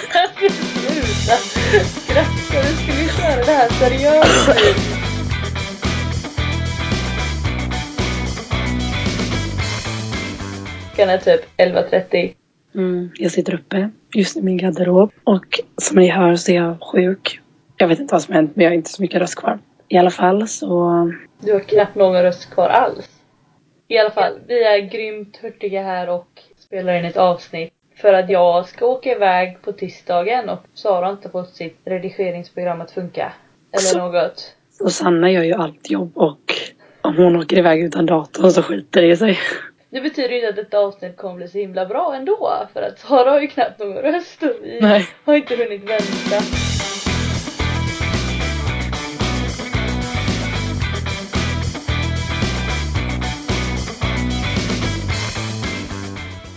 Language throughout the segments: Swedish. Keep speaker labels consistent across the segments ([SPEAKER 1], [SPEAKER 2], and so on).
[SPEAKER 1] Sluta! Grabbar, nu ska vi köra det här seriöst nu. Klockan är typ 11.30.
[SPEAKER 2] Mm, jag sitter uppe just i min garderob och som ni hör så är jag sjuk. Jag vet inte vad som hänt men jag har inte så mycket röst kvar. I alla fall så...
[SPEAKER 1] Du har knappt någon röst kvar alls. I alla fall, vi är grymt hurtiga här och spelar in ett avsnitt. För att jag ska åka iväg på tisdagen och Sara har inte fått sitt redigeringsprogram att funka. Eller
[SPEAKER 2] Så-
[SPEAKER 1] något.
[SPEAKER 2] Och Sanna gör ju allt jobb och om hon åker iväg utan datorn så skiter det i sig.
[SPEAKER 1] Det betyder ju inte att detta avsnitt kommer bli så himla bra ändå. För att Sara har ju knappt någon röst och vi
[SPEAKER 2] Nej.
[SPEAKER 1] har inte hunnit vänta.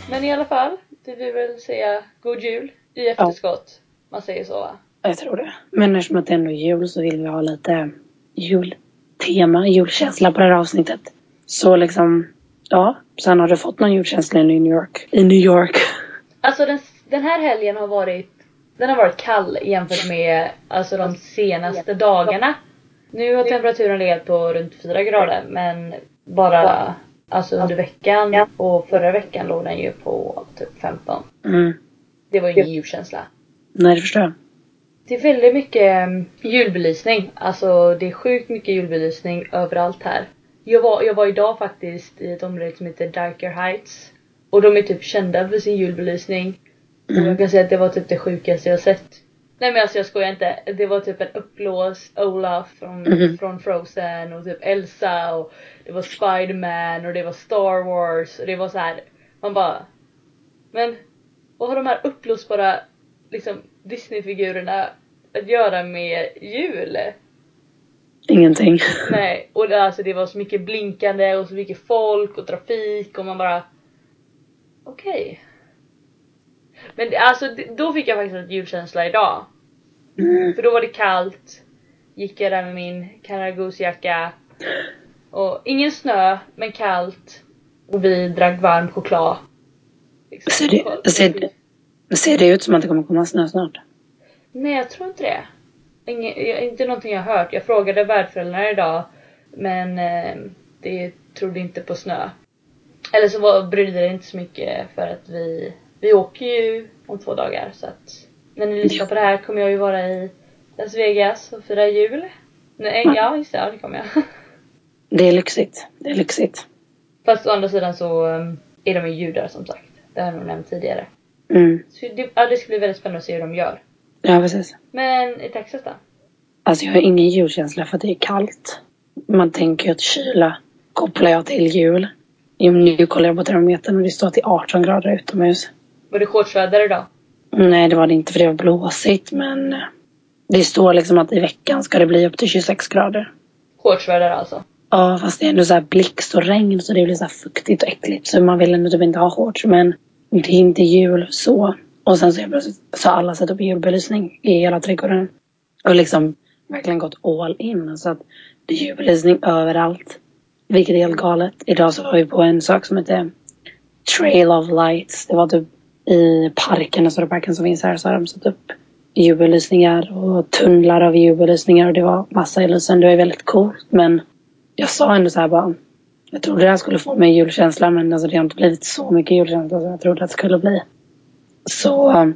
[SPEAKER 1] Men i alla fall, det vill väl säga god jul i efterskott. Man säger så va?
[SPEAKER 2] Ja, Jag tror det. Men eftersom att det ändå är jul så vill vi ha lite jultema, julkänsla på det här avsnittet. Så liksom, ja. Sen har du fått någon julkänsla i New York? I New York.
[SPEAKER 1] Alltså den, den här helgen har varit den har varit kall jämfört med alltså, de senaste dagarna. Nu har temperaturen legat på runt 4 grader men bara alltså, under veckan och förra veckan låg den ju på typ 15.
[SPEAKER 2] Mm.
[SPEAKER 1] Det var ju ingen julkänsla.
[SPEAKER 2] Nej, det förstår jag.
[SPEAKER 1] Det är väldigt mycket mm, julbelysning. Alltså det är sjukt mycket julbelysning överallt här. Jag var, jag var idag faktiskt i ett område som heter Darker Heights. Och de är typ kända för sin julbelysning.
[SPEAKER 2] Mm.
[SPEAKER 1] Och jag kan säga att det var typ det sjukaste jag sett. Nej men alltså jag skojar inte. Det var typ en uppblåst Olaf från,
[SPEAKER 2] Mhm.
[SPEAKER 1] från Frozen och typ Elsa och det var Spiderman och det var Star Wars och det var så här. Man bara men vad har de här uppblåsbara liksom, Disney-figurerna att göra med jul?
[SPEAKER 2] Ingenting.
[SPEAKER 1] Nej, och det, alltså, det var så mycket blinkande och så mycket folk och trafik och man bara... Okej. Men det- alltså det- då fick jag faktiskt en julkänsla idag.
[SPEAKER 2] Mm.
[SPEAKER 1] För då var det kallt. Gick jag där med min Kanada Och ingen snö, men kallt. Och vi drack varm choklad. Liksom.
[SPEAKER 2] Ser Alltså, det, ser, ser det ut som att det kommer komma snö snart?
[SPEAKER 1] Nej, jag tror inte det. Inge, jag, inte någonting jag har hört. Jag frågade värdföräldrarna idag, men eh, det trodde inte på snö. Eller så var, brydde det inte så mycket för att vi, vi åker ju om två dagar så att när ni lyssnar på det här kommer jag ju vara i Las Vegas och fira jul. Nej, eh, ja just det, ja, det kommer jag.
[SPEAKER 2] Det är lyxigt. Det är lyxigt.
[SPEAKER 1] Fast å andra sidan så eh, är de ju judar som sagt. Det har jag nog nämnt tidigare.
[SPEAKER 2] Mm.
[SPEAKER 1] Så det, ja, det ska bli väldigt spännande att se hur de gör.
[SPEAKER 2] Ja, precis.
[SPEAKER 1] Men i Texas då?
[SPEAKER 2] Alltså jag har ingen julkänsla för att det är kallt. Man tänker ju att kyla kopplar jag till jul. Jo, men nu kollar jag på termometern och det står att det är 18 grader utomhus.
[SPEAKER 1] Var det shortsväder idag?
[SPEAKER 2] Nej, det var det inte för det var blåsigt men eh, det står liksom att i veckan ska det bli upp till 26 grader.
[SPEAKER 1] Shortsväder alltså.
[SPEAKER 2] Ja, fast det är ändå så här blixt och regn så det blir så här fuktigt och äckligt så man vill ändå typ inte ha shorts men det är inte jul så. Och sen så är plötsligt så har alla satt upp julbelysning i hela trädgården. Och liksom verkligen gått all in så att det är julbelysning överallt. Vilket är helt galet. Idag så var vi på en sak som heter Trail of Lights. Det var typ i parken, alltså parken som finns här, så har de satt upp julbelysningar och tunnlar av julbelysningar och det var massa illusion. Det var ju väldigt coolt men jag sa ändå så här bara jag trodde det här skulle få mig julkänsla men alltså det har inte blivit så mycket julkänsla som jag trodde att det skulle bli. Så um,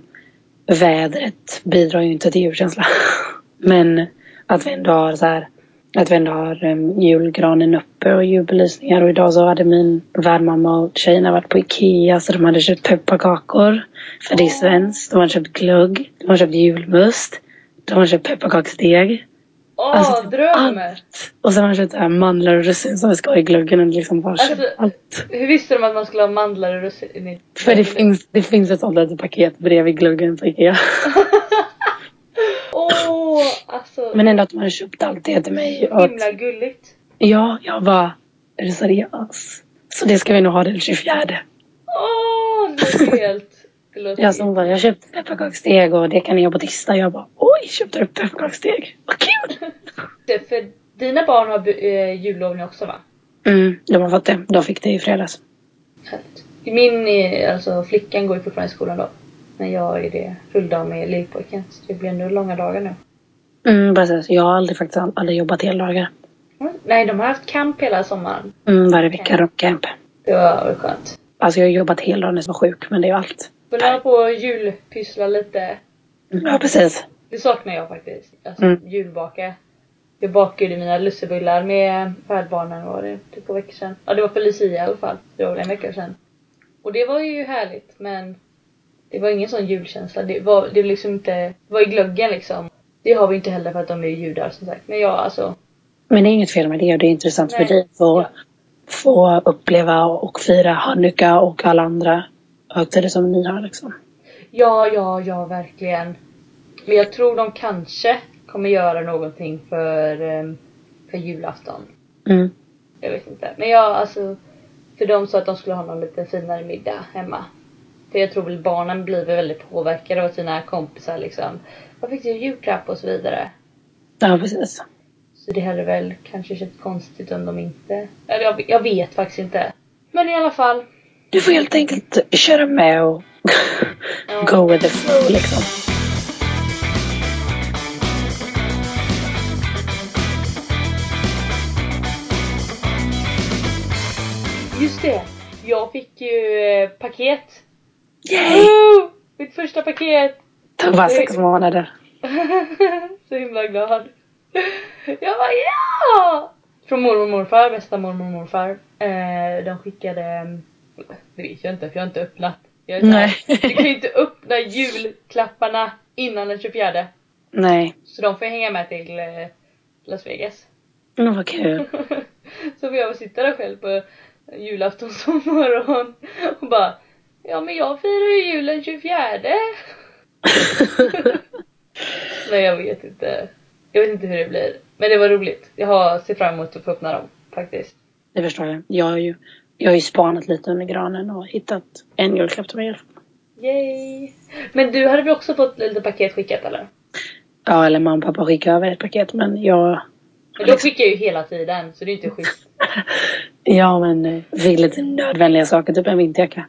[SPEAKER 2] vädret bidrar ju inte till julkänsla. Men att vi ändå har så här att vi ändå har um, julgranen uppe och julbelysningar och idag så hade min värdmamma och tjejerna varit på Ikea så de hade köpt pepparkakor. För det är svenskt. De hade köpt glögg. De hade köpt julmust. De hade köpt pepparkaksdeg.
[SPEAKER 1] Åh,
[SPEAKER 2] Alltså, typ
[SPEAKER 1] dröm!
[SPEAKER 2] allt. Och sen har de köpt så här mandlar och russin som vi ska ha i glöggen. Och liksom bara
[SPEAKER 1] Alltså-
[SPEAKER 2] köpt allt.
[SPEAKER 1] Hur visste de att man skulle ha mandlar och russin i-
[SPEAKER 2] För det finns, det finns ett sånt litet paket bredvid glöggen på Ikea.
[SPEAKER 1] Åh, alltså.
[SPEAKER 2] Men ändå att man har köpt allt det till mig. Och
[SPEAKER 1] så
[SPEAKER 2] att,
[SPEAKER 1] himla gulligt.
[SPEAKER 2] ja, jag bara, är du seriös? Så det ska vi nog ha den 24.
[SPEAKER 1] Åh, det låter helt... Det låter
[SPEAKER 2] Ja, så hon bara, jag köpte pepparkaksdeg och det kan ni göra på tisdag. Jag bara, oj, köpte du pepparkaksdeg? Vad kul!
[SPEAKER 1] helt- För dina barn har bu- eh, jullov nu också va?
[SPEAKER 2] Mm, de har fått det. De fick det i fredags.
[SPEAKER 1] Härligt. Min, eh, alltså flickan går ju fortfarande i skolan då. när jag är det rullade av med lillpojken. Så det blir ändå långa dagar nu.
[SPEAKER 2] Mm, precis. Jag har aldrig, faktiskt aldrig jobbat heldagar.
[SPEAKER 1] Mm. Nej, de har haft camp hela sommaren.
[SPEAKER 2] Mm, varje vecka rockcamp.
[SPEAKER 1] Det var skönt.
[SPEAKER 2] Alltså jag har jobbat heldagar när jag var sjuk, men det är ju allt.
[SPEAKER 1] Började hålla på och julpyssla lite.
[SPEAKER 2] Mm, ja, precis.
[SPEAKER 1] Det saknar jag faktiskt. Alltså
[SPEAKER 2] Mm.
[SPEAKER 1] julbaka. Jag bakade mina lussebullar med färdbarnen var det typ på veckor sedan. Ja det var för Lucia i alla fall. Det var väl en vecka sedan. Och det var ju härligt men det var ingen sån julkänsla. Det var, det var liksom inte, det var i glöggen liksom. Det har vi inte heller för att de är judar som sagt. Men jag alltså.
[SPEAKER 2] Men det är inget fel med det och det är intressant
[SPEAKER 1] Nej.
[SPEAKER 2] för dig att få,
[SPEAKER 1] Ja.
[SPEAKER 2] få uppleva och fira Hanukka och alla andra högtider som ni har liksom.
[SPEAKER 1] Ja, ja, ja verkligen. Men jag tror de kanske kommer göra någonting för, ehm, för julafton.
[SPEAKER 2] Mm.
[SPEAKER 1] Jag vet inte. Men jag alltså. För de sa att de skulle ha någon lite finare middag hemma. För jag tror väl barnen blir väl väldigt påverkade av sina kompisar liksom. Vad fick du i julklapp och så vidare.
[SPEAKER 2] Ja, precis.
[SPEAKER 1] Så det hade väl kanske känts konstigt om de inte... Eller jag, jag vet faktiskt inte. Men i alla fall.
[SPEAKER 2] Du får helt enkelt köra med och
[SPEAKER 1] Ja.
[SPEAKER 2] go with the flow liksom.
[SPEAKER 1] Just det. Jag fick ju eh, paket.
[SPEAKER 2] Yay!
[SPEAKER 1] Woo! Mitt första paket.
[SPEAKER 2] tog bara sex månader.
[SPEAKER 1] så himla glad. Jag bara ja! Från mormor och morfar, bästa mormor och morfar. Eh, de skickade... mm, Det vet jag inte för jag har inte öppnat. Jag är så här,
[SPEAKER 2] Nej.
[SPEAKER 1] Du kan ju inte öppna julklapparna innan den 24.
[SPEAKER 2] Nej.
[SPEAKER 1] Så de får jag hänga med till eh, Las Vegas.
[SPEAKER 2] Men vad kul.
[SPEAKER 1] så får jag sitta där själv på julafton som morgon och bara Ja men jag firar ju julen 24. Nej jag vet inte. Jag vet inte hur det blir. Men det var roligt. Jag har ser fram emot att få öppna dem faktiskt.
[SPEAKER 2] Det förstår jag. Jag har ju, jag har ju spanat lite under granen och hittat en julklapp till mig. i alla fall.
[SPEAKER 1] Yay! Men du hade väl också fått lite paket skickat eller?
[SPEAKER 2] Ja, eller mamma och pappa skickade över ett paket men jag...
[SPEAKER 1] Men de skickar ju hela tiden så det är inte schysst.
[SPEAKER 2] Ja, men eh, fick lite nödvändiga saker, typ en vinterjacka.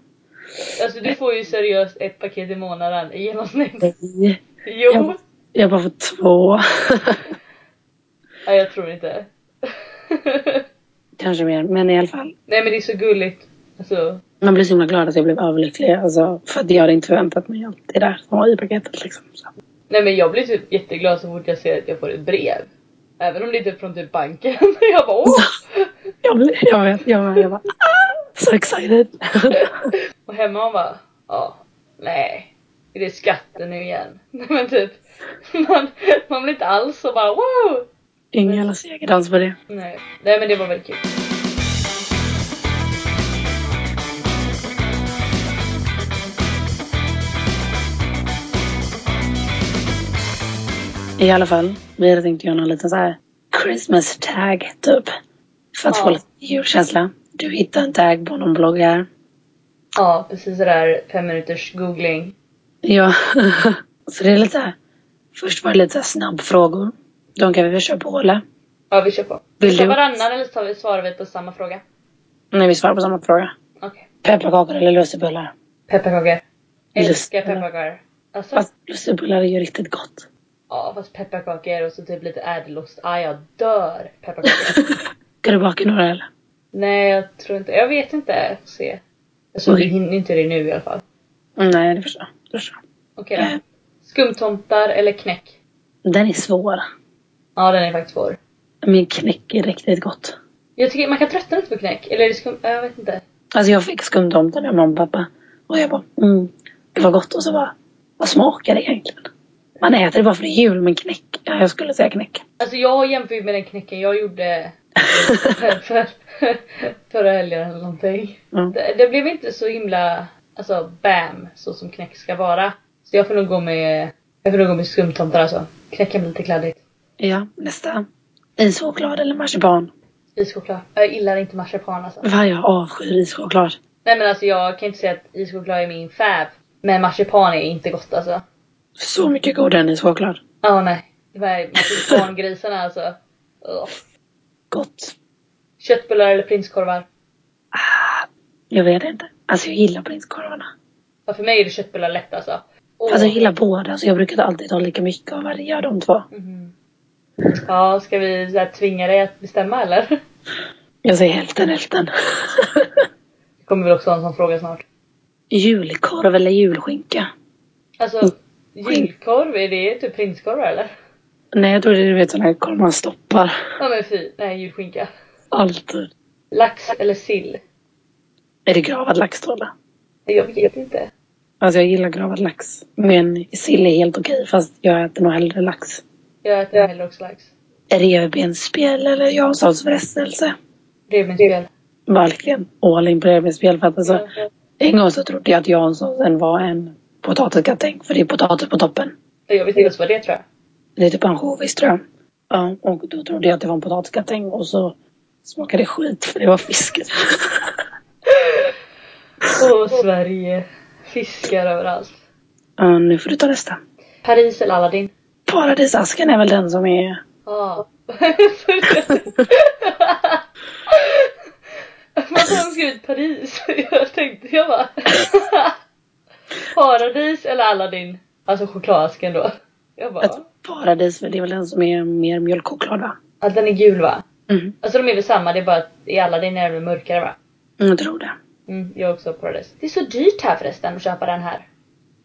[SPEAKER 1] Alltså du får ju seriöst ett paket i månaden i genomsnitt.
[SPEAKER 2] Nej.
[SPEAKER 1] Jo!
[SPEAKER 2] Jag, jag bara fått två.
[SPEAKER 1] Nej jag tror inte.
[SPEAKER 2] Kanske mer, men i alla fall.
[SPEAKER 1] Nej men det är så gulligt. Alltså.
[SPEAKER 2] Man blir så himla glad att jag blev överlycklig. Alltså, för att jag hade inte förväntat mig allt det där som var i paketet. Liksom. Så.
[SPEAKER 1] Nej men jag blir typ jätteglad så fort jag ser att jag får ett brev. Även om det inte är från typ banken. jag bara åh!
[SPEAKER 2] Jag, blev, jag, vet, jag, var- jag var ah, so excited.
[SPEAKER 1] Och hemma hon bara, ja, nej. Är det skatten nu igen? Nej men typ, man, man blir inte alls så bara wow!
[SPEAKER 2] Ingen jävla segerdans på det.
[SPEAKER 1] Nej, nej men det var väldigt kul.
[SPEAKER 2] I alla fall, vi hade tänkt göra någon liten så här Christmas tag typ. För att
[SPEAKER 1] Ja.
[SPEAKER 2] få lite julkänsla. Du hittar en tag på någon blogg här.
[SPEAKER 1] Ja, precis sådär fem minuters googling.
[SPEAKER 2] Ja. så det är lite så här. Först var det lite så här snabbfrågor. De kan vi väl köra på eller?
[SPEAKER 1] Ja, vi kör på.
[SPEAKER 2] Vill
[SPEAKER 1] Vill
[SPEAKER 2] du-
[SPEAKER 1] varannan eller så tar vi, svarar vi på samma fråga?
[SPEAKER 2] Nej, vi svarar på samma fråga.
[SPEAKER 1] Okej.
[SPEAKER 2] Pepparkakor eller lussebullar?
[SPEAKER 1] Pepparkakor. Älskar
[SPEAKER 2] Lussebullar.
[SPEAKER 1] pepparkakor. Alltså,
[SPEAKER 2] Fast lussebullar är ju riktigt gott.
[SPEAKER 1] ja fast pepparkakor och så typ lite ädelost. Ah, jag dör pepparkakor.
[SPEAKER 2] Ska du baka några eller?
[SPEAKER 1] nej, jag tror inte, jag vet inte. Får se. Alltså vi
[SPEAKER 2] Oj.
[SPEAKER 1] hinner inte det nu i alla fall.
[SPEAKER 2] Mm, Nej, det förstår jag. Det förstår
[SPEAKER 1] Okej
[SPEAKER 2] Eh.
[SPEAKER 1] då. Skumtomtar eller knäck?
[SPEAKER 2] jag. Den är svår.
[SPEAKER 1] Ja, den är faktiskt svår.
[SPEAKER 2] Min knäck är riktigt gott.
[SPEAKER 1] Jag tycker man kan tröttna lite på knäck. Eller är det skum... Jag vet inte.
[SPEAKER 2] Alltså jag fick skumtomten av mamma och pappa. Och jag bara, mm, det var gott. Och så bara, vad smakar det egentligen? Man äter det bara för det är jul, men knäck. Ja, jag skulle säga knäck.
[SPEAKER 1] Alltså jag jämför ju med den knäcken jag gjorde för, förra helgen eller någonting.
[SPEAKER 2] Mm.
[SPEAKER 1] Det, det blev inte så himla, alltså bam, så som knäck ska vara. Så jag får nog gå med, jag får nog gå med skumtomtar alltså. Knäck kan bli lite kladdigt.
[SPEAKER 2] Ja, nästa. Ischoklad eller marsipan?
[SPEAKER 1] Ischoklad. Jag gillar inte marsipan alltså.
[SPEAKER 2] Vad jag avskyr ischoklad.
[SPEAKER 1] Nej men alltså jag kan inte säga att ischoklad är min fäv. Men marsipan är inte gott alltså.
[SPEAKER 2] Så mycket godare än ischoklad.
[SPEAKER 1] Ja, nej. De här marsipangrisarna alltså. Ugh.
[SPEAKER 2] Gott.
[SPEAKER 1] Köttbullar eller prinskorvar?
[SPEAKER 2] Jag vet inte. Alltså jag gillar prinskorvarna.
[SPEAKER 1] Ja, för mig är det köttbullar lätt alltså. Och,
[SPEAKER 2] Alltså jag gillar båda så jag brukar alltid ha lika mycket av varje av de två.
[SPEAKER 1] Mhm. Ja, ska vi så här, tvinga dig att bestämma eller?
[SPEAKER 2] Jag säger hälften hälften.
[SPEAKER 1] Det kommer väl också ha en sån fråga snart.
[SPEAKER 2] Julkorv eller julskinka?
[SPEAKER 1] Alltså,
[SPEAKER 2] Mm.
[SPEAKER 1] julkorv, är det typ prinskorv eller?
[SPEAKER 2] Nej jag tror det är du vet sån här korv man stoppar.
[SPEAKER 1] Ja men fy, nej julskinka.
[SPEAKER 2] Alltid.
[SPEAKER 1] Lax eller sill?
[SPEAKER 2] Är det gravad lax då eller?
[SPEAKER 1] Jag vet inte.
[SPEAKER 2] Alltså jag gillar gravad lax. Men sill är helt okej fast jag äter nog hellre lax.
[SPEAKER 1] Jag äter hellre också lax.
[SPEAKER 2] Revbensspjäll eller Janssons frestelse.
[SPEAKER 1] Revbensspjäll.
[SPEAKER 2] Verkligen. All in på revbensspjäll för att alltså. En gång så trodde jag att Janssonsen var en potatisgratäng för det är potatis på toppen.
[SPEAKER 1] Jag vet inte ens vad det är, tror jag.
[SPEAKER 2] Det är typ ansjovis tror jag. Ja, och då trodde jag att det var en potatisgratäng och så smakade det skit för det var fisk.
[SPEAKER 1] Åh Sverige. Fiskar överallt.
[SPEAKER 2] ja, nu får du ta nästa.
[SPEAKER 1] Paris eller Aladdin?
[SPEAKER 2] Paradisasken är väl den som är...
[SPEAKER 1] Ja. Varför har de skrivit Paris? Jag tänkte, jag bara... Paradis eller Aladdin? Alltså chokladasken då. Jag bara...
[SPEAKER 2] Ett paradis, för det är väl den som är mer mjölkchoklad va?
[SPEAKER 1] Att den är gul va?
[SPEAKER 2] Mm,
[SPEAKER 1] Alltså de är väl samma, det är bara att i Aladdin är den mörkare va?
[SPEAKER 2] jag tror det.
[SPEAKER 1] Mm, jag också Paradis. Det är så dyrt här förresten att köpa den här.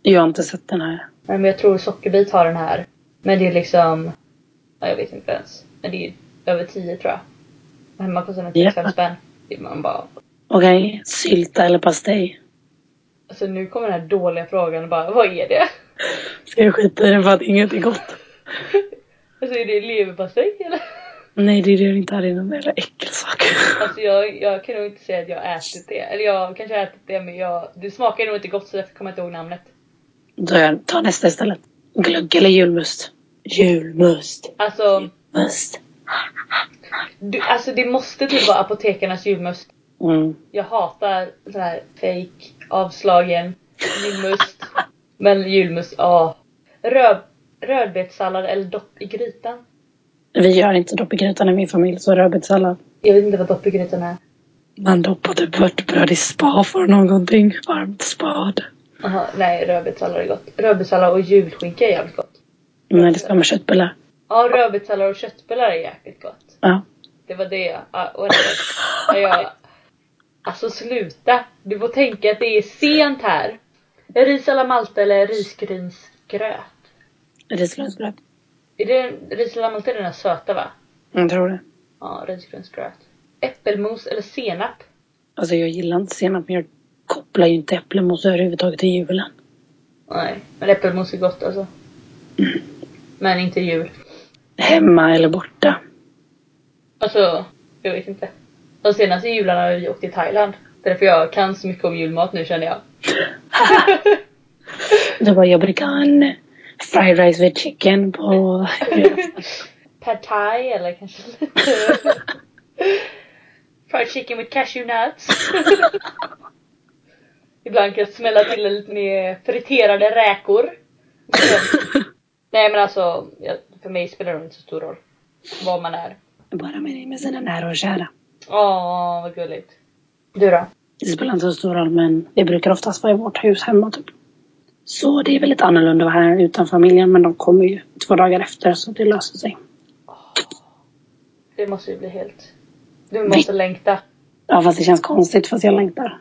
[SPEAKER 2] Jag har inte sett den här.
[SPEAKER 1] Nej, men jag tror Sockerbit har den här. Men det är liksom... Ja, jag vet inte ens. Men det är över 10 tror jag. Och Hemma kostar den 35
[SPEAKER 2] Ja.
[SPEAKER 1] spänn. Det är man bara...
[SPEAKER 2] Okej, sylta eller pastej?
[SPEAKER 1] Alltså nu kommer den här dåliga frågan och bara, vad är det?
[SPEAKER 2] Ska jag skita i den för att inget är gott?
[SPEAKER 1] Alltså är det leverpastej eller?
[SPEAKER 2] Nej, det är det jag inte hade någon jävla äckelsak.
[SPEAKER 1] Alltså jag, jag kan nog inte säga att jag har ätit det. Eller jag kanske har ätit det men jag... Det smakar nog inte gott så därför kommer jag inte ihåg namnet.
[SPEAKER 2] Då jag tar nästa istället. Glögg eller julmust? Julmust.
[SPEAKER 1] Alltså,
[SPEAKER 2] Must.
[SPEAKER 1] du, alltså det måste typ vara apotekarnas julmust.
[SPEAKER 2] Mm.
[SPEAKER 1] Jag hatar sån här fake avslagen julmust. Men julmust, ja. Röd, rödbetssallad eller dopp i grytan.
[SPEAKER 2] Vi gör inte dopp i grytan i min familj, så rödbetssallad.
[SPEAKER 1] Jag vet inte vad dopp i grytan är.
[SPEAKER 2] Man doppar typ vörtbröd i spa för någonting. Varmt spad.
[SPEAKER 1] Aha, nej, rödbetssallad är gott. Rödbetssallad och julskinka är jävligt gott.
[SPEAKER 2] Nej, det ska vara med köttbullar.
[SPEAKER 1] Ja, rödbetssallad och köttbullar är jäkligt gott.
[SPEAKER 2] Ja.
[SPEAKER 1] Det var det jag... ja, whatever. Ja, jag alltså sluta! Du får tänka att det är sent här. Ris alla malte eller risgrynsgröt?
[SPEAKER 2] Risgrynsgröt.
[SPEAKER 1] Är det, ris alla malte är den här söta va?
[SPEAKER 2] Jag tror det.
[SPEAKER 1] Ja, risgrynsgröt. Äppelmos eller senap?
[SPEAKER 2] Alltså jag gillar inte senap, men jag kopplar ju inte äppelmos överhuvudtaget till julen.
[SPEAKER 1] Nej, men äppelmos är gott alltså. Men inte jul.
[SPEAKER 2] Hemma eller borta.
[SPEAKER 1] Alltså, jag vet inte. De senaste jularna har vi åkt till Thailand. Därför jag kan så mycket om julmat nu känner jag.
[SPEAKER 2] Då var jag brukar ha en fried rice with chicken på
[SPEAKER 1] Pad thai eller kanske lite... Fried chicken with cashew nuts. Ibland kan jag smälla till lite med friterade räkor. Nej men alltså, jag- för mig spelar det inte så stor roll. Vad man är.
[SPEAKER 2] Bara med, med sina nära och kära.
[SPEAKER 1] Åh, vad gulligt. Du då?
[SPEAKER 2] Det spelar inte så stor roll, men det brukar oftast vara i vårt hus hemma typ. Så det är väl lite annorlunda att vara här utan familjen, men de kommer ju två dagar efter så det löser sig.
[SPEAKER 1] Det måste ju bli helt... Du måste längta.
[SPEAKER 2] Ja, fast det känns konstigt fast jag längtar.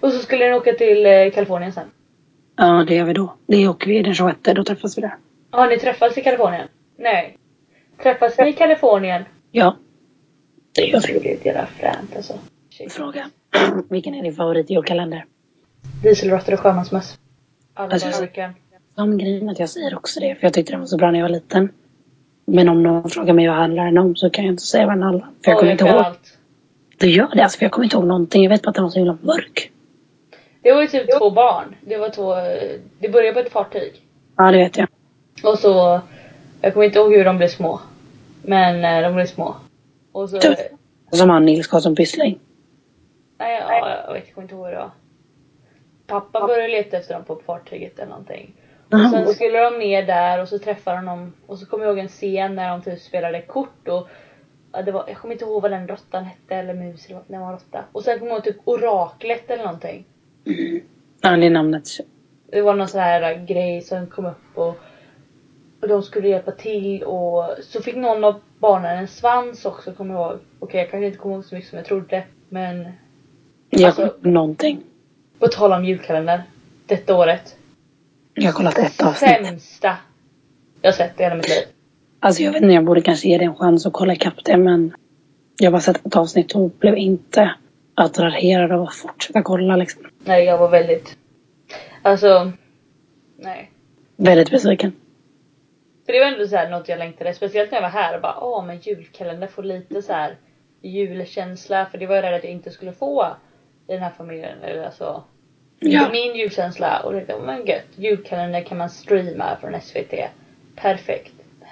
[SPEAKER 1] Och så skulle ni åka till eh, Kalifornien sen.
[SPEAKER 2] Ja, det gör vi då. Det åker vi den 26, då träffas vi där.
[SPEAKER 1] Har ni träffats i Kalifornien? Nej. Träffas ni i Kalifornien?
[SPEAKER 2] Ja. Det gör
[SPEAKER 1] Det blir ett jävla fränt alltså.
[SPEAKER 2] vi. Fråga. Vilken är din favorit julkalender?
[SPEAKER 1] Dieselråttor och sjömansmöss. Alla
[SPEAKER 2] Alltså,
[SPEAKER 1] dagar i
[SPEAKER 2] jag-
[SPEAKER 1] veckan.
[SPEAKER 2] Som grejen att jag säger också det, för jag tyckte den var så bra när jag var liten. Men om någon frågar mig vad handlar den om så kan jag inte säga vad den handlar om. För jag
[SPEAKER 1] Åh,
[SPEAKER 2] kommer inte
[SPEAKER 1] kan
[SPEAKER 2] ihåg.
[SPEAKER 1] allt.
[SPEAKER 2] Du gör det alltså, för jag kommer inte ihåg någonting. Jag vet bara att den var så himla mörk.
[SPEAKER 1] Det var ju typ två barn. Det var två... eh, Det började på ett fartyg.
[SPEAKER 2] Ja, det vet jag.
[SPEAKER 1] Och så... Jag kommer inte ihåg hur de blev små. Men eh, de blev små. Och så...
[SPEAKER 2] Typ. Som han Nils Karlsson Pyssling.
[SPEAKER 1] Nej, ja, jag vet jag kommer inte ihåg vad det var. Pappa började leta efter dem på fartyget eller någonting. Och sen
[SPEAKER 2] Jaha.
[SPEAKER 1] skulle de ner där och så träffade de dem. Och så kommer jag ihåg en scen när de typ spelade kort och ja, det var, jag kommer inte ihåg vad den råttan hette eller mus eller vad den var en råtta. Och sen kommer jag ihåg typ oraklet eller någonting.
[SPEAKER 2] Ja, det är namnet.
[SPEAKER 1] Det var någon sån här grej som kom upp och, och de skulle hjälpa till och så fick någon av barnen en svans också kommer jag ihåg. Okej jag kanske inte kommer ihåg så mycket som jag trodde men
[SPEAKER 2] Jag
[SPEAKER 1] Alltså-
[SPEAKER 2] har kollat på någonting.
[SPEAKER 1] på tal om julkalender. Detta året.
[SPEAKER 2] Jag har kollat ett avsnitt.
[SPEAKER 1] Sämsta jag sett i hela mitt liv.
[SPEAKER 2] Alltså jag vet inte, jag borde kanske ge det en chans att kolla ikapp det men jag har bara sett ett avsnitt och blev inte attraherad av att fortsätta kolla liksom.
[SPEAKER 1] Nej jag var väldigt... Alltså... Nej.
[SPEAKER 2] Väldigt besviken.
[SPEAKER 1] För det var ändå så här något jag längtade. Speciellt när jag var här och bara åh men julkalender får lite så här julkänsla. För det var jag rädd att jag inte skulle få i den här familjen. Eller alltså
[SPEAKER 2] Ja.
[SPEAKER 1] min julkänsla. Och det var men gött. Julkalender kan man streama från SVT. Perfekt. Men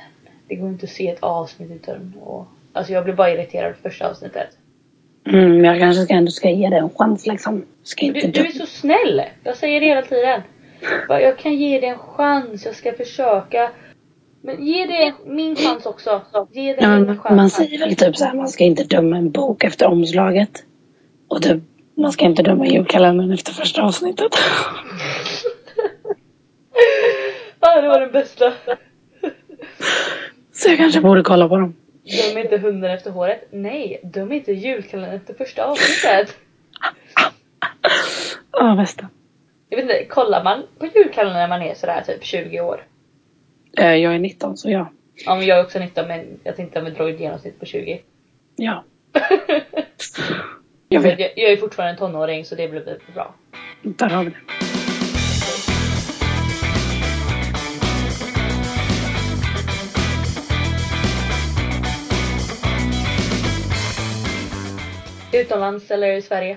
[SPEAKER 1] det går inte att se ett avsnitt utan och, Alltså jag blev bara irriterad på första avsnittet.
[SPEAKER 2] Mm, men jag kanske ska, ändå ska ge det en chans liksom. Ska
[SPEAKER 1] Du,
[SPEAKER 2] inte
[SPEAKER 1] du är så snäll! Jag säger det hela tiden. Bara, Jag kan ge dig en chans, jag ska försöka. Men ge dig min chans också. Ge dig
[SPEAKER 2] Ja,
[SPEAKER 1] min
[SPEAKER 2] men
[SPEAKER 1] chans.
[SPEAKER 2] man säger väl typ så här, man ska inte döma en bok efter omslaget. Och typ, man ska inte döma julkalendern efter första avsnittet.
[SPEAKER 1] ah, det var den bästa.
[SPEAKER 2] Så jag kanske borde kolla på dem.
[SPEAKER 1] Döm inte hunden efter håret. Nej, döm inte julkalendern efter första avsnittet.
[SPEAKER 2] Ja, bästa.
[SPEAKER 1] Jag vet inte, kollar man på julkalendern när man är sådär typ 20 år?
[SPEAKER 2] Eh, Jag är 19 så ja.
[SPEAKER 1] Ja, men jag är också 19 men jag tänkte om jag drar ett genomsnitt på 20.
[SPEAKER 2] Ja. Jag vet,
[SPEAKER 1] jag, jag är fortfarande en tonåring så det blir väl bra.
[SPEAKER 2] där har vi det.
[SPEAKER 1] Utomlands eller i Sverige?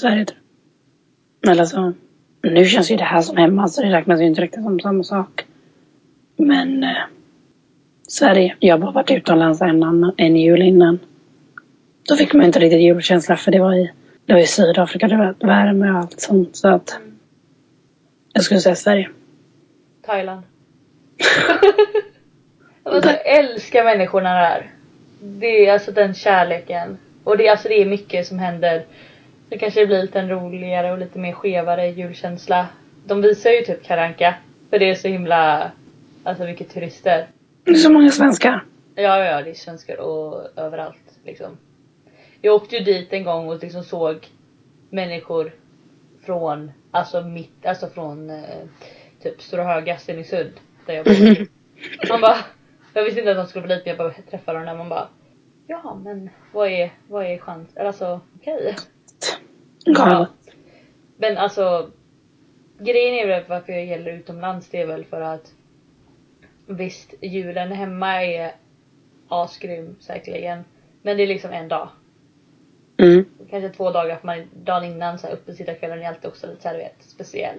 [SPEAKER 2] Sverige tror jag. Eller så. alltså, Nu känns ju det här som hemma så det räknas ju inte riktigt som samma sak. Men eh, Sverige. Jag har bara varit utomlands en, annan, en jul innan. Då fick man inte riktigt julkänsla för det var i, det var i Sydafrika, det var värme och allt sånt. Så att jag skulle säga Sverige.
[SPEAKER 1] Thailand. alltså, jag älskar människorna där. Det är alltså den kärleken. Och det, är- alltså, det är mycket som händer. Det kanske blir lite en roligare och lite mer skevare julkänsla. De visar ju typ Karanka. För det är så himla... Alltså mycket turister.
[SPEAKER 2] Det är så många svenskar.
[SPEAKER 1] Ja, ja, det är svenskar och överallt liksom. Jag åkte ju dit en gång och liksom såg människor från, alltså mitt, alltså från eh, typ Stora Höga, Stenungsund. Där jag bor. Man bara, jag visste inte att de skulle bli dit men jag bara träffade dem där man bara Ja men vad är, vad är chans, eller alltså okej. Ja.
[SPEAKER 2] Galet.
[SPEAKER 1] Men alltså grejen är väl varför jag gäller utomlands det är väl för att visst julen hemma är asgrym säkerligen. Men det är liksom en dag.
[SPEAKER 2] Mm.
[SPEAKER 1] Kanske två dagar för man dagen innan så här uppe sitta kvällen är alltid också lite så här, du vet, speciell.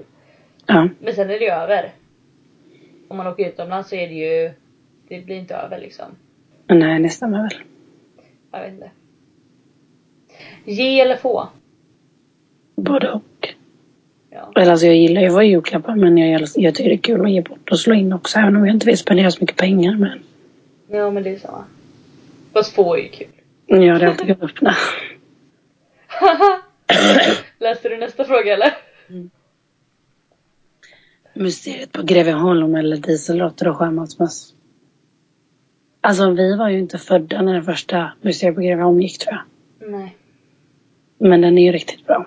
[SPEAKER 2] Ja.
[SPEAKER 1] Men sen är det ju över. Om man åker utomlands så är det ju det blir inte över liksom.
[SPEAKER 2] Men nej, det stämmer väl.
[SPEAKER 1] Jag vet inte. Ge eller få?
[SPEAKER 2] Både och.
[SPEAKER 1] Ja.
[SPEAKER 2] Eller alltså jag gillar ju att få julklappar men jag, jag tycker det är kul att ge bort och slå in också även om jag inte vill spendera så mycket pengar. Men
[SPEAKER 1] ja men det är samma. Fast få är ju kul.
[SPEAKER 2] jag hade alltid kunnat öppna.
[SPEAKER 1] Läste du nästa fråga eller?
[SPEAKER 2] Mysteriet på Greveholm eller dieselråttor och sjömansmöss. Alltså vi var ju inte födda när det första Mysteriet på Greveholm gick tror jag.
[SPEAKER 1] Nej.
[SPEAKER 2] Men den är ju riktigt bra.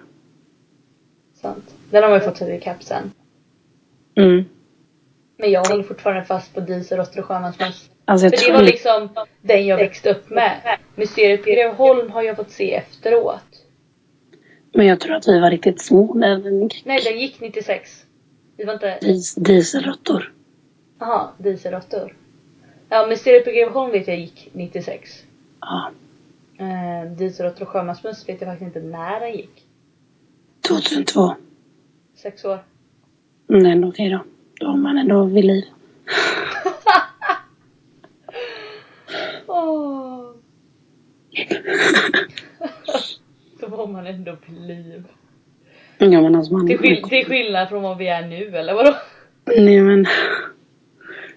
[SPEAKER 1] Sant. Den har man ju fått sätta i kapp sen.
[SPEAKER 2] Mm.
[SPEAKER 1] Men jag håller fortfarande fast på diesel, råttor och sjömansmöss.
[SPEAKER 2] Alltså jag
[SPEAKER 1] För det
[SPEAKER 2] tror
[SPEAKER 1] var liksom den jag växte upp med. Mysteriet på Greveholm har jag fått se efteråt.
[SPEAKER 2] Men jag tror att vi var riktigt små när den gick.
[SPEAKER 1] Nej, den gick 96. Vi var inte...
[SPEAKER 2] Dis, dieselråttor.
[SPEAKER 1] Jaha, dieselråttor. Ja, Mysteriet på Greveholm vet jag gick 96.
[SPEAKER 2] Ja.
[SPEAKER 1] Eh, dieselråttor och sjömansmöss vet jag faktiskt inte när den gick.
[SPEAKER 2] 2002.
[SPEAKER 1] Sex år.
[SPEAKER 2] Nej, men okej då. Då var man ändå vid liv.
[SPEAKER 1] Åh. Då var man ändå på liv.
[SPEAKER 2] Ja men alltså man...
[SPEAKER 1] Till, skill- till skillnad från vad vi är nu eller vadå?
[SPEAKER 2] Nej men.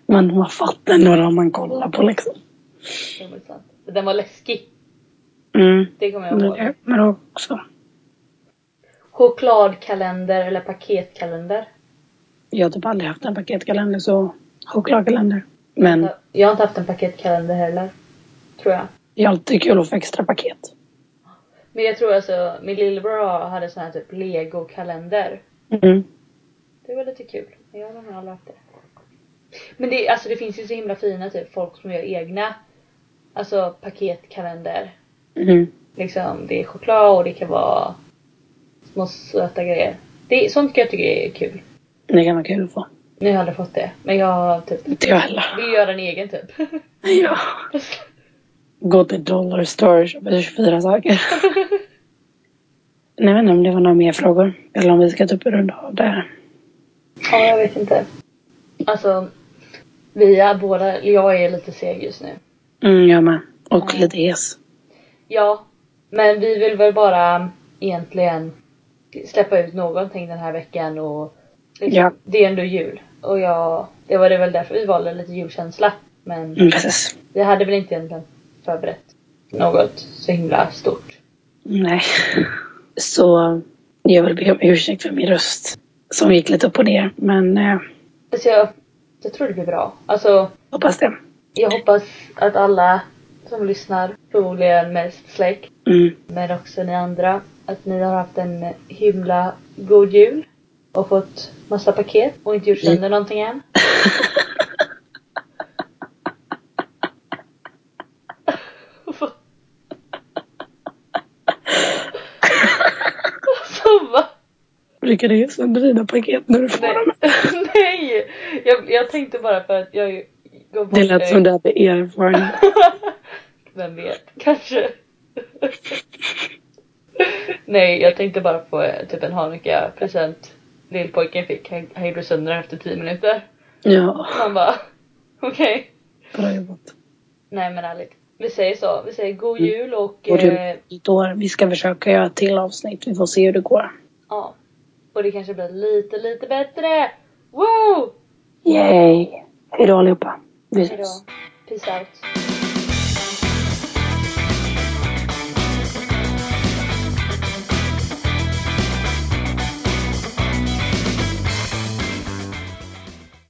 [SPEAKER 2] Man, man fattar ändå om man kollar på liksom.
[SPEAKER 1] Det var sant. Den var läskig.
[SPEAKER 2] Mm.
[SPEAKER 1] Det kommer jag
[SPEAKER 2] Men
[SPEAKER 1] ihåg.
[SPEAKER 2] det men det också.
[SPEAKER 1] Chokladkalender eller paketkalender?
[SPEAKER 2] jag har typ aldrig haft en paketkalender så chokladkalender. Men
[SPEAKER 1] Jag har inte haft en paketkalender heller. Tror jag.
[SPEAKER 2] det är alltid kul att få extra paket.
[SPEAKER 1] Men jag tror alltså, min lillebror har- hade sån här typ legokalender.
[SPEAKER 2] Mm.
[SPEAKER 1] Det var lite kul. Men jag har nog aldrig haft det. Men det, alltså det finns ju så himla fina typ folk som gör egna. Alltså paketkalender.
[SPEAKER 2] Mm.
[SPEAKER 1] Liksom det är choklad och det kan vara små söta grejer. Det, sånt kan jag tycka är kul.
[SPEAKER 2] Det kan vara kul att få.
[SPEAKER 1] Nu har jag aldrig fått det. Men jag har typ,
[SPEAKER 2] Inte jag heller.
[SPEAKER 1] vill göra en egen typ.
[SPEAKER 2] Ja. Gå till Dollar Store och köpa 24 saker. Nej, men om det var några mer frågor. Eller om vi ska typ runda av där.
[SPEAKER 1] ja, jag vet inte. Alltså, vi är båda, jag är lite seg just nu.
[SPEAKER 2] Mm, jag med. Och
[SPEAKER 1] Ja.
[SPEAKER 2] lite hes.
[SPEAKER 1] Ja, men vi vill väl bara egentligen släppa ut någonting den här veckan och liksom,
[SPEAKER 2] Ja.
[SPEAKER 1] det är ändå jul. Och jag, det var det väl därför vi valde lite julkänsla. Men
[SPEAKER 2] Mm, precis.
[SPEAKER 1] vi hade väl inte egentligen förberett något så himla stort.
[SPEAKER 2] Nej. Så jag vill be om ursäkt för min röst. Som gick lite upp och ner. Men eh,
[SPEAKER 1] Så jag, jag tror det blir bra. Alltså,
[SPEAKER 2] hoppas det.
[SPEAKER 1] jag hoppas att alla som lyssnar, förmodligen mest släkt,
[SPEAKER 2] Mm.
[SPEAKER 1] men också ni andra, att ni har haft en himla god jul och fått massa paket och inte gjort
[SPEAKER 2] Mm.
[SPEAKER 1] sönder någonting än. Alltså, va?
[SPEAKER 2] Brukar du ge sönder dina paket när du får
[SPEAKER 1] Nej,
[SPEAKER 2] dem?
[SPEAKER 1] Nej. Jag, jag tänkte bara för att jag går bort
[SPEAKER 2] Det lät som du hade erfarenhet.
[SPEAKER 1] Vem vet, kanske. Nej, jag tänkte bara på eh, typ en Hanukkah present lillpojken fick. Han, han gjorde sönder den efter 10 minuter.
[SPEAKER 2] Ja,
[SPEAKER 1] Man bara, okej.
[SPEAKER 2] bra jobbat.
[SPEAKER 1] Nej men ärligt. Vi säger så. Vi säger god
[SPEAKER 2] Mm.
[SPEAKER 1] jul och...
[SPEAKER 2] Och
[SPEAKER 1] eh,
[SPEAKER 2] du, då, vi ska försöka göra ett till avsnitt. Vi får se hur det går.
[SPEAKER 1] ja. Och det kanske blir lite, lite bättre. Wow!
[SPEAKER 2] Yay! Hejdå allihopa. Vi
[SPEAKER 1] Hejdå.
[SPEAKER 2] ses.
[SPEAKER 1] Peace out.